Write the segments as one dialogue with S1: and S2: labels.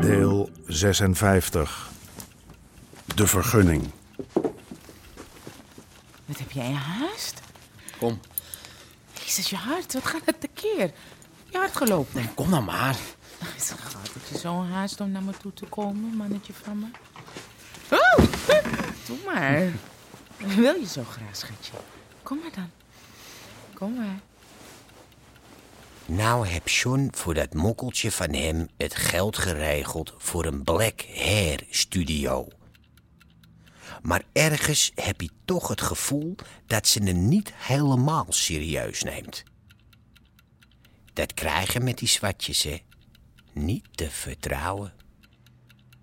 S1: Deel 56. De vergunning.
S2: Wat heb jij haast?
S3: Kom,
S2: Jezus, je hart, wat gaat het tekeer? Je hart gelopen.
S3: kom dan maar.
S2: Schat, heb je zo'n haast om naar me toe te komen, mannetje van me? Oh, doe maar. Wil je zo graag, schatje? Kom maar dan. Kom maar.
S3: Nou heb John voor dat mokkeltje van hem het geld geregeld voor een black hair studio. Maar ergens heb je toch het gevoel dat ze hem niet helemaal serieus neemt. Dat krijgen met die zwartjes, hè. Niet te vertrouwen.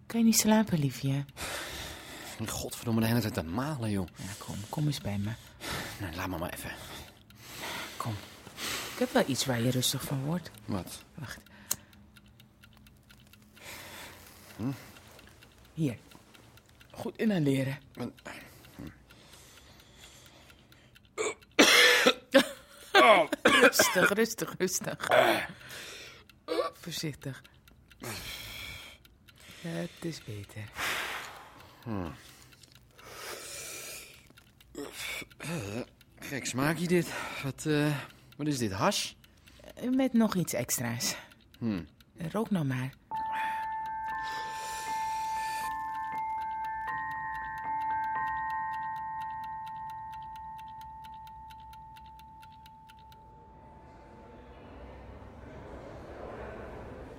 S2: Kan je niet slapen, liefje?
S4: Godverdomme, de hele tijd aan malen, joh.
S2: Ja, kom, kom eens bij me.
S4: Nou, laat me maar even.
S2: Kom. Ik heb wel iets waar je rustig van wordt.
S4: Wat?
S2: Wacht. Hier. Goed inhaleren. Rustig, rustig, rustig. Voorzichtig. Het is beter.
S4: Gek smaakje dit. Wat, eh, wat is dit, hash?
S2: Met nog iets extra's. Rook nou maar.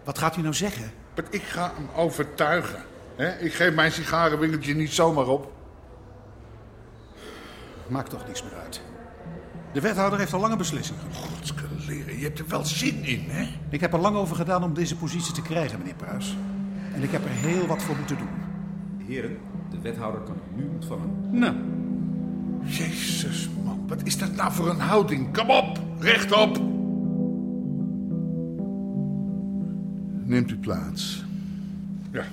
S5: Wat gaat u nou zeggen?
S6: Maar ik ga hem overtuigen. Hè? Ik geef mijn sigarenwinkeltje niet zomaar op.
S5: Maakt toch niks meer uit. De wethouder heeft al lange beslissing genomen.
S6: Godskeleren, je hebt er wel zin in, hè?
S5: Ik heb er lang over gedaan om deze positie te krijgen, meneer Pruis. En ik heb er heel wat voor moeten doen.
S7: Heren, de wethouder kan u nu ontvangen.
S6: Nou. Jezus, man, wat is dat nou voor een houding? Kom op, rechtop! Neemt u plaats. Ja.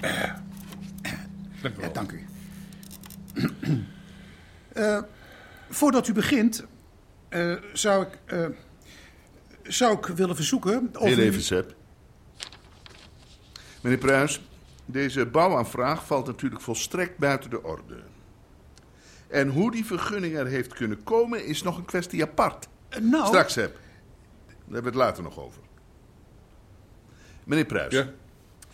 S6: Eh. Dank u wel.
S5: Ja, dank u. Eh, voordat u begint, eh, zou ik. eh, zou ik willen verzoeken. Of
S8: Heel
S5: u-
S8: even, Sepp. Meneer Pruis, deze bouwaanvraag valt natuurlijk volstrekt buiten de orde. En hoe die vergunning er heeft kunnen komen, is nog een kwestie apart.
S5: Eh, nou,
S8: Straks, Sepp. Daar hebben we het later nog over. Meneer Pruis,
S6: Ja?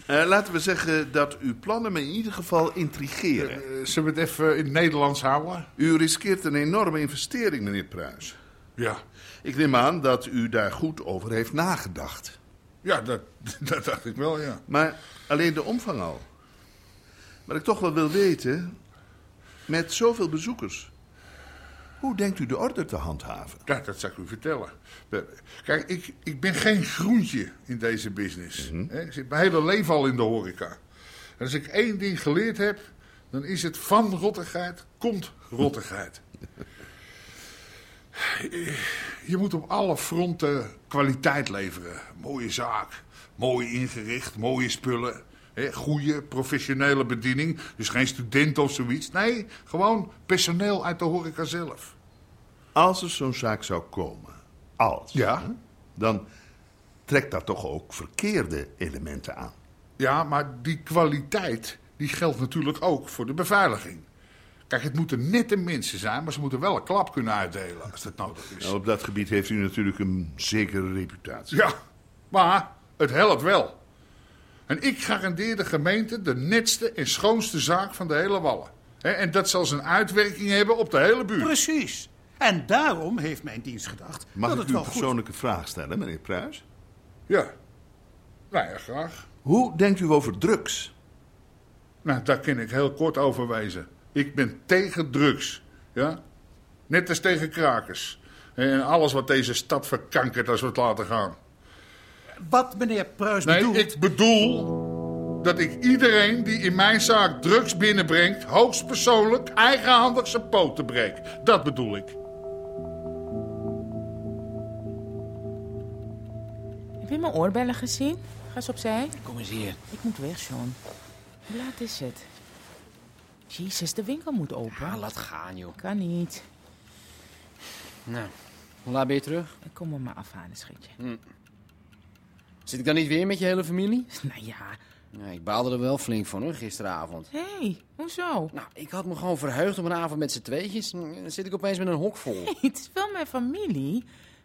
S8: eh, laten we zeggen dat uw plannen me in ieder geval intrigeren.
S6: Eh, Zullen we het even in het Nederlands houden?
S8: U riskeert een enorme investering, meneer Pruis.
S6: Ja.
S8: Ik neem aan dat u daar goed over heeft nagedacht.
S6: Ja, dat, dat dacht ik wel, ja.
S8: Maar alleen de omvang al. Wat ik toch wel wil weten, met zoveel bezoekers, hoe denkt u de orde te handhaven?
S6: Ja, dat zal ik u vertellen. Kijk, ik, ik ben geen groentje in deze business. hè. Ik zit mijn hele leven al in de horeca. En als ik één ding geleerd heb, dan is het van rottigheid komt rottigheid. Je moet op alle fronten kwaliteit leveren. Mooie zaak, mooi ingericht, mooie spullen. hè, goede, professionele bediening. Dus geen student of zoiets. Nee, gewoon personeel uit de horeca zelf.
S8: Als er zo'n zaak zou komen, als,
S6: Ja,
S8: dan trekt dat toch ook verkeerde elementen aan.
S6: Ja, maar die kwaliteit die geldt natuurlijk ook voor de beveiliging. Kijk, het moeten nette mensen zijn, maar ze moeten wel een klap kunnen uitdelen als dat nodig is.
S8: Nou, op dat gebied heeft u natuurlijk een zekere reputatie.
S6: Ja, maar het helpt wel. En ik garandeer de gemeente de netste en schoonste zaak van de hele Wallen. Hè, En dat zal zijn uitwerking hebben op de hele buurt.
S5: Precies. En daarom heeft mijn dienst gedacht.
S8: Mag
S5: dat
S8: ik
S5: het
S8: u
S5: wel
S8: een
S5: goed
S8: persoonlijke vraag stellen, meneer Pruis?
S6: Ja. Nou ja, graag.
S8: Hoe denkt u over drugs?
S6: Nou, daar kan ik heel kort over wijzen. Ik ben tegen drugs. Ja? Net als tegen krakers. En alles wat deze stad verkankert als we het laten gaan.
S5: Wat meneer Pruis
S6: Nee,
S5: bedoelt...
S6: ik bedoel dat ik iedereen die in mijn zaak drugs binnenbrengt... hoogstpersoonlijk eigenhandig zijn poten breek. Dat bedoel ik.
S2: Heb je mijn oorbellen gezien? Ga eens opzij.
S4: Kom eens hier.
S2: Ik moet weg, John. Hoe laat is het? Jezus, de winkel moet
S4: Ah,
S2: open.
S4: laat gaan, joh.
S2: Kan niet.
S4: Nou, hoe laat ben je terug?
S2: Kom me maar afhalen, schatje.
S4: Zit ik dan niet weer met je hele familie?
S2: Nou ja.
S4: Nee, ik baalde er wel flink van, hoor, gisteravond.
S2: Hé, hey, hoezo?
S4: Nou, ik had me gewoon verheugd op een avond met z'n tweetjes. En Dan eh, zit ik opeens met een hok vol.
S2: Het is wel mijn familie.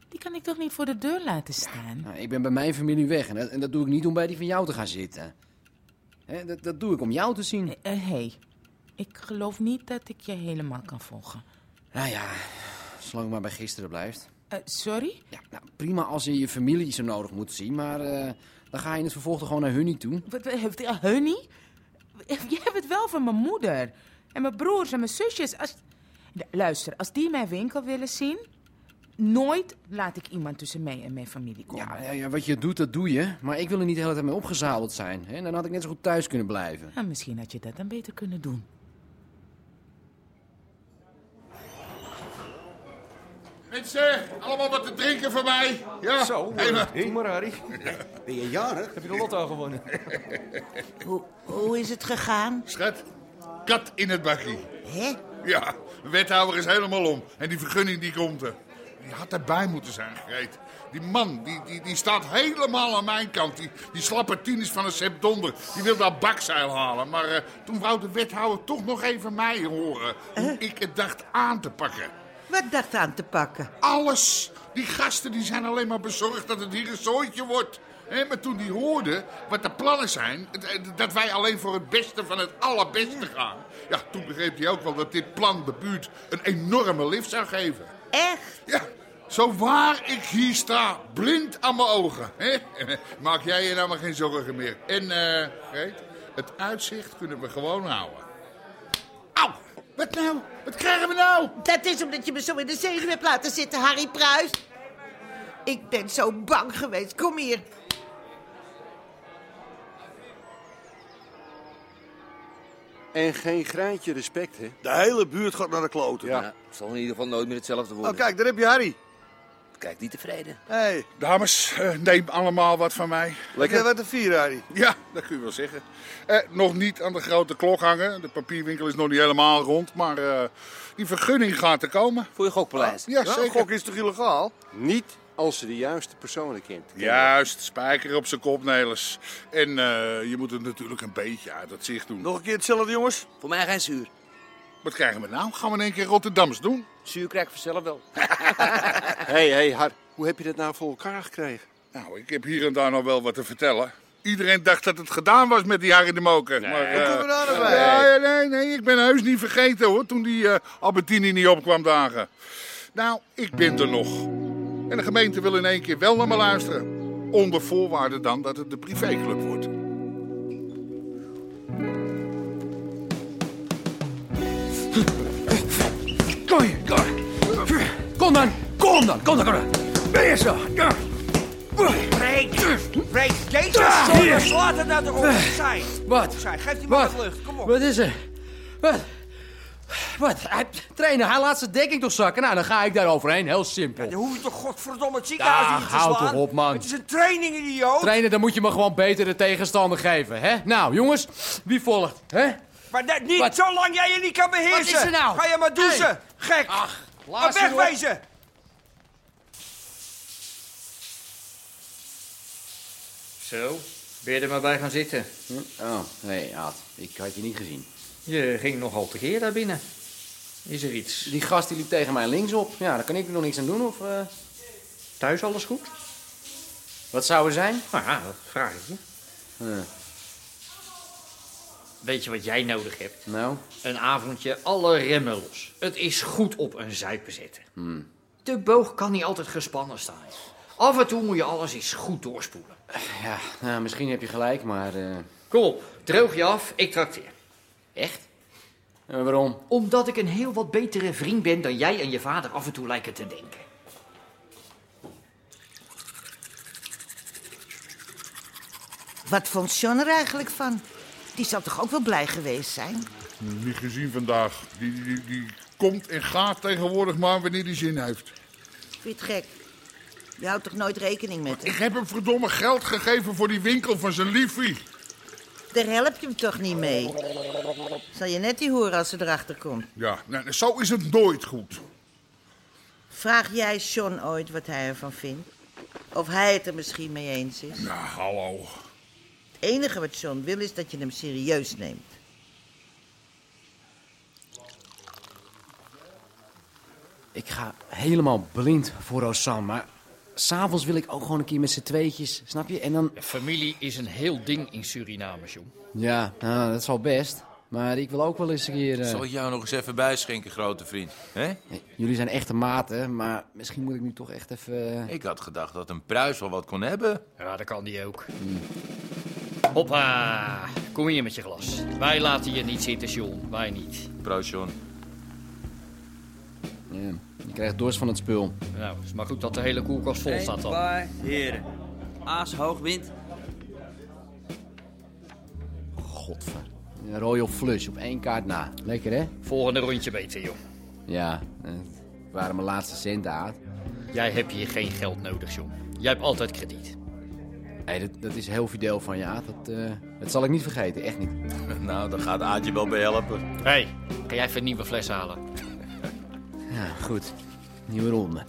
S2: Die kan ik toch niet voor de deur laten staan?
S4: Nou, ik ben bij mijn familie weg en dat, en dat doe ik niet om bij die van jou te gaan zitten. Hè, dat, dat doe ik om jou te zien.
S2: Hé, Eh, hey, ik geloof niet dat ik je helemaal kan volgen.
S4: Nou ja, zolang het maar bij gisteren blijft.
S2: Eh, sorry?
S4: Ja, nou, prima als je je familie zo nodig moet zien, maar eh, dan ga je in het vervolg toch gewoon naar hun niet toe.
S2: Wat wat heeft eh, Honey? Je hebt het wel van mijn moeder. En mijn broers en mijn zusjes. Als... Luister, als die mijn winkel willen zien... nooit laat ik iemand tussen mij en mijn familie komen.
S4: Ja, ja, ja, wat je doet, dat doe je. Maar ik wil er niet de hele tijd mee opgezadeld zijn. Hè? Dan had ik net zo goed thuis kunnen blijven.
S2: Nou, misschien had je dat dan beter kunnen doen.
S6: Mensen, allemaal wat te drinken voor mij. Ja.
S9: Zo, doe maar Harry.
S3: Ben je jarig?
S9: Heb je de lotto gewonnen?
S10: Hoe, hoe is het gegaan?
S6: Schat, kat in het bakkie.
S10: Hè?
S6: Ja, de wethouder is helemaal om. En die vergunning die komt er. Die had erbij moeten zijn, Greet. Die man, die, die, die staat helemaal aan mijn kant. Die, die slappe tieners van een Sepp Donder. Die wil dat bakzeil halen. Maar eh, toen wou de wethouder toch nog even mij horen. Hoe ik het dacht aan te pakken.
S10: Wat dacht aan te pakken?
S6: Alles. Die gasten die zijn alleen maar bezorgd dat het hier een zooitje wordt. Hè, maar toen die hoorden wat de plannen zijn, het- het- dat wij alleen voor het beste van het allerbeste gaan. Ja, toen begreep hij ook wel dat dit plan de buurt een enorme lift zou geven.
S10: Echt?
S6: Ja, zo waar ik hier sta, blind aan mijn ogen. Hè? Maak jij je nou maar geen zorgen meer. En, eh, Greet, het uitzicht kunnen we gewoon houden. Au, wat nou? Wat krijgen we nou?
S10: Dat is omdat je me zo in de zenuw hebt laten zitten, Harry Pruis. Ik ben zo bang geweest. Kom hier.
S11: En geen graantje respect, hè?
S9: De hele buurt gaat naar de kloten.
S11: Ja. het zal in ieder geval nooit meer hetzelfde worden.
S9: Oh, kijk, daar heb je Harry.
S11: Kijk, niet tevreden.
S9: Hé, hey,
S6: Dames, eh, neem allemaal wat van mij.
S9: lekker wat te vieren, Harry.
S6: Ja, dat kun je wel zeggen. Eh, nog niet aan de grote klok hangen. De papierwinkel is nog niet helemaal rond. Maar eh, die vergunning gaat er komen. Ah,
S11: Voor je gokpaleis.
S6: Ja,
S9: Ja,
S6: zeker.
S9: Nou, gok is toch illegaal?
S11: Niet als ze de juiste personen kent.
S6: Juist, spijker op zijn kop, Nelis. En eh, je moet het natuurlijk een beetje uit het zicht doen.
S9: Nog een keer hetzelfde, jongens.
S11: Voor mij geen zuur.
S6: Wat krijgen we nou? Gaan we in één keer Rotterdams doen?
S11: Zuur krijg ik vanzelf wel. Hé, hé, hey, Har. Hoe heb je dat nou voor elkaar gekregen?
S6: Nou, ik heb hier en daar nog wel wat te vertellen. Iedereen dacht dat het gedaan was met die Harry de Moker. maar, eh,
S9: Kom er aan erbij.
S6: Ja, ja, nee, nee, ik ben heus niet vergeten hoor, toen die eh, Albertini niet opkwam dagen. Nou, ik ben er nog. En de gemeente wil in één keer wel naar me luisteren. Onder voorwaarde dan dat het de privéclub wordt.
S7: Kom hier, kom. Kom dan, kom dan, kom dan, kom dan. Ben je zo? Ja.
S10: Breek! Breek!
S7: Ah,
S10: Jezus,
S7: hier.
S10: slaat het nou toch op zijn.
S4: Wat?
S10: Zij, geef die man
S4: Wat?
S10: wat lucht. Kom op.
S4: Wat is er? Wat? Wat? Hij, trainer, hij laat zijn dekking toch zakken? Nou, dan ga ik daar overheen. Heel simpel.
S10: Je hoeft toch godverdomme het ziekenhuis
S4: Dag,
S10: in te
S4: hou
S10: slaan?
S4: toch op, man.
S10: Het is een training, idioot.
S4: Trainer, dan moet je me gewoon beter de tegenstander geven, hè? Nou, jongens, wie volgt, hè?
S10: maar net niet
S4: Wat?
S10: zolang jij je niet kan beheersen.
S4: Wat is er nou?
S10: Ga je maar douchen, gek. maar
S4: Laatste, jongen.
S10: wegwezen.
S9: Zo, ben je er maar bij gaan zitten.
S4: Oh, nee, Aad. Ik had je niet gezien.
S9: Je ging nogal tekeer daar binnen. Is er iets?
S4: Die gast die liep tegen mij linksop. Ja, daar kan ik nog niks aan doen, of... eh,
S9: Thuis alles goed?
S4: wat zou er zijn?
S9: Nou ja, dat vraag ik je.
S4: Eh,
S9: Weet je wat jij nodig hebt?
S4: nou,
S9: Een avondje alle remmen Hmm. los. Het is goed op een zuipen zetten. De boog kan niet altijd gespannen staan. Af en toe moet je alles eens goed doorspoelen.
S4: Ja, nou, misschien heb je gelijk, maar... eh,
S9: Kom op, droog je af, ik trakteer. Echt?
S4: eh, waarom?
S9: Omdat ik een heel wat betere vriend ben dan jij en je vader af en toe lijken te denken.
S10: Wat vond John er eigenlijk van? Die zal toch ook wel blij geweest zijn?
S6: Niet gezien vandaag. Die, die, die, die komt en gaat tegenwoordig maar wanneer hij zin heeft.
S10: Vind je het gek? Je houdt toch nooit rekening met
S6: Ik
S10: hem?
S6: heb hem verdomme geld gegeven voor die winkel van zijn liefie.
S10: Daar help je hem toch niet mee? Zal je net die horen als ze erachter komt?
S6: Ja, nou, zo is het nooit goed.
S10: Vraag jij John ooit wat hij ervan vindt? Of hij het er misschien mee eens is?
S6: Nou, hallo.
S10: Het enige wat John wil is dat je hem serieus neemt.
S4: Ik ga helemaal blind voor Rosanne, maar... S'avonds wil ik ook gewoon een keer met z'n tweetjes, snap je? En dan...
S12: Familie is een heel ding in Suriname, jong.
S4: Ja, nou, dat is wel best. Maar ik wil ook wel eens een keer... eh,
S13: Zal ik jou nog eens even bijschenken, grote vriend? hè?
S4: Jullie zijn echte maten, maar misschien moet ik nu toch echt even... eh,
S13: Ik had gedacht dat een pruis wel wat kon hebben.
S12: Ja, dat kan die ook. Hoppa, kom hier met je glas. Wij laten je niet zitten, John. Wij niet.
S13: Proost, John.
S4: ja, je krijgt dorst van het spul.
S12: Nou, het is maar goed dat de hele koelkast vol staat dan.
S14: Bij heren. Aas hoogwind.
S4: Godver. Een Royal Flush op één kaart na. Lekker, hè?
S12: Volgende rondje beter, joh.
S4: Ja, eh, het waren mijn laatste centen, Aad.
S12: Jij hebt hier geen geld nodig, John. Jij hebt altijd krediet.
S4: Hey, dat, dat is heel fideel van je, Aad. Dat, eh, dat zal ik niet vergeten, echt niet.
S13: Nou, dan gaat Aadje wel bij helpen.
S12: Hé, hey, kan jij even een nieuwe fles halen?
S4: Ja, goed. Nieuwe ronde.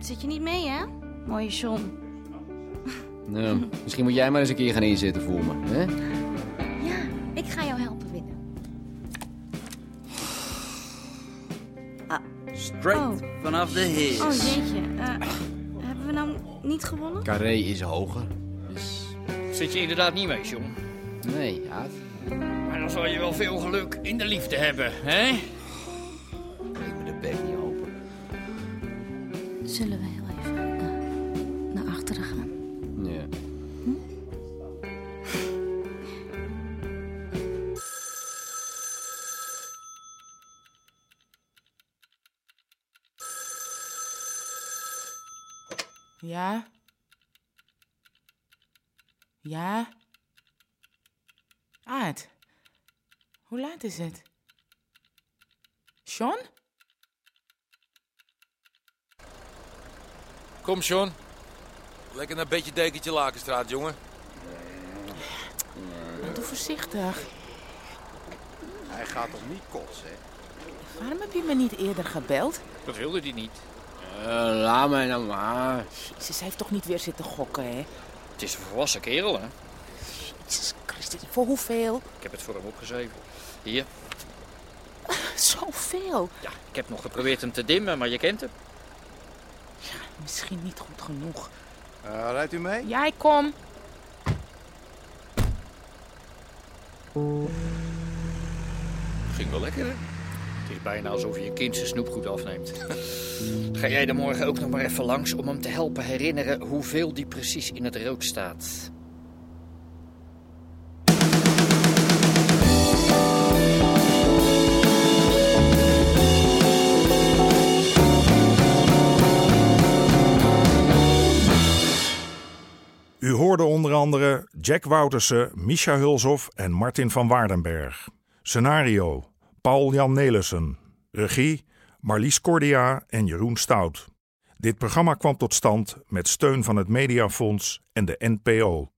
S15: Zit je niet mee, hè? Mooie John.
S4: Nou, misschien moet jij maar eens een keer gaan inzitten voor me, hè?
S15: Ja, ik ga jou helpen winnen.
S14: Straight vanaf de heers.
S15: Ah. Oh jeetje, eh, hebben we nou niet gewonnen?
S4: Carré is hoger.
S12: Zit je inderdaad niet mee, John?
S4: Nee, Aad.
S12: Maar dan zal je wel veel geluk in de liefde hebben, hè?
S15: Zullen we heel even eh, naar achteren gaan?
S4: Ja.
S2: Ja? Ja? Aad, hoe laat is het? Sean?
S13: Kom, John. Lekker naar bedje dekentje Lakenstraat, jongen.
S2: Doe voorzichtig.
S11: Hij gaat toch niet kotsen, hè?
S2: Waarom heb je me niet eerder gebeld?
S12: Dat wilde hij niet. Eh,
S4: laat mij nou maar.
S2: Jezus, hij heeft toch niet weer zitten gokken, hè?
S12: Het is een volwassen kerel, hè?
S2: Jezus Christus, voor hoeveel?
S12: Ik heb het voor hem opgeschreven. Hier,
S2: Zoveel.
S12: ja, ik heb nog geprobeerd hem te dimmen, maar je kent hem.
S2: Misschien niet goed genoeg.
S11: Eh, rijdt u mee?
S2: Jij kom.
S13: Ging wel lekker, hè?
S12: Het is bijna alsof je je kind zijn snoepgoed afneemt. Ga jij er morgen ook nog maar even langs om hem te helpen herinneren hoeveel die precies in het rood staat?
S1: U hoorde onder andere Jack Woutersen, Misha Hulshoff en Martin van Waardenberg. Scenario: Paul-Jan Nelissen. Regie: Marlies Cordia en Jeroen Stout. Dit programma kwam tot stand met steun van het Mediafonds en de NPO.